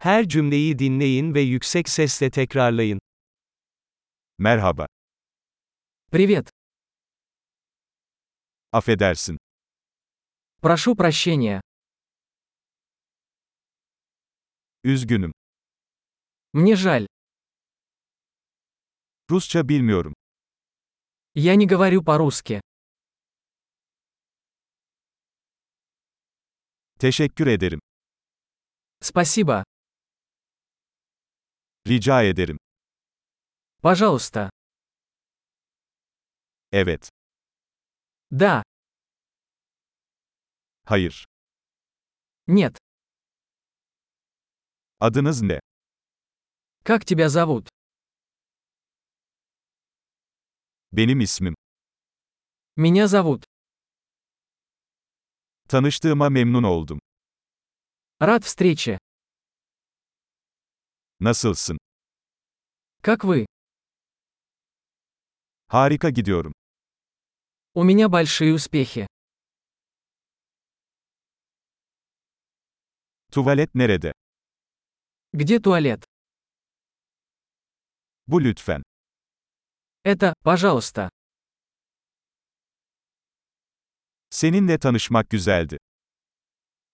Her cümleyi dinleyin ve yüksek sesle tekrarlayın. Merhaba. Привет. Affedersin. Прошу прощения. Üzgünüm. Мне жаль. Rusça bilmiyorum. Я не говорю по-русски. Teşekkür ederim. Спасибо. Rica ederim. Пожалуйста. Evet. Да. Hayır. Нет. Adınız ne? Как тебя зовут? Benim ismim. Меня зовут. Tanıştığıma memnun oldum. Рад встрече. Nasılsın? Как вы? Harika gidiyorum. У меня большие успехи. Tuvalet nerede? Где туалет? Bu lütfen. Это, пожалуйста. Seninle tanışmak güzeldi.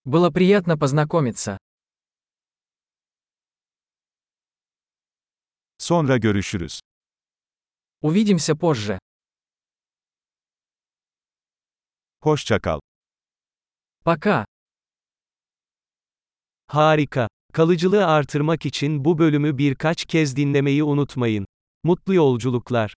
Было приятно познакомиться. Sonra görüşürüz. Увидимся позже. Hoşça kal. Пока. Harika. Kalıcılığı artırmak için bu bölümü birkaç kez dinlemeyi unutmayın. Mutlu yolculuklar.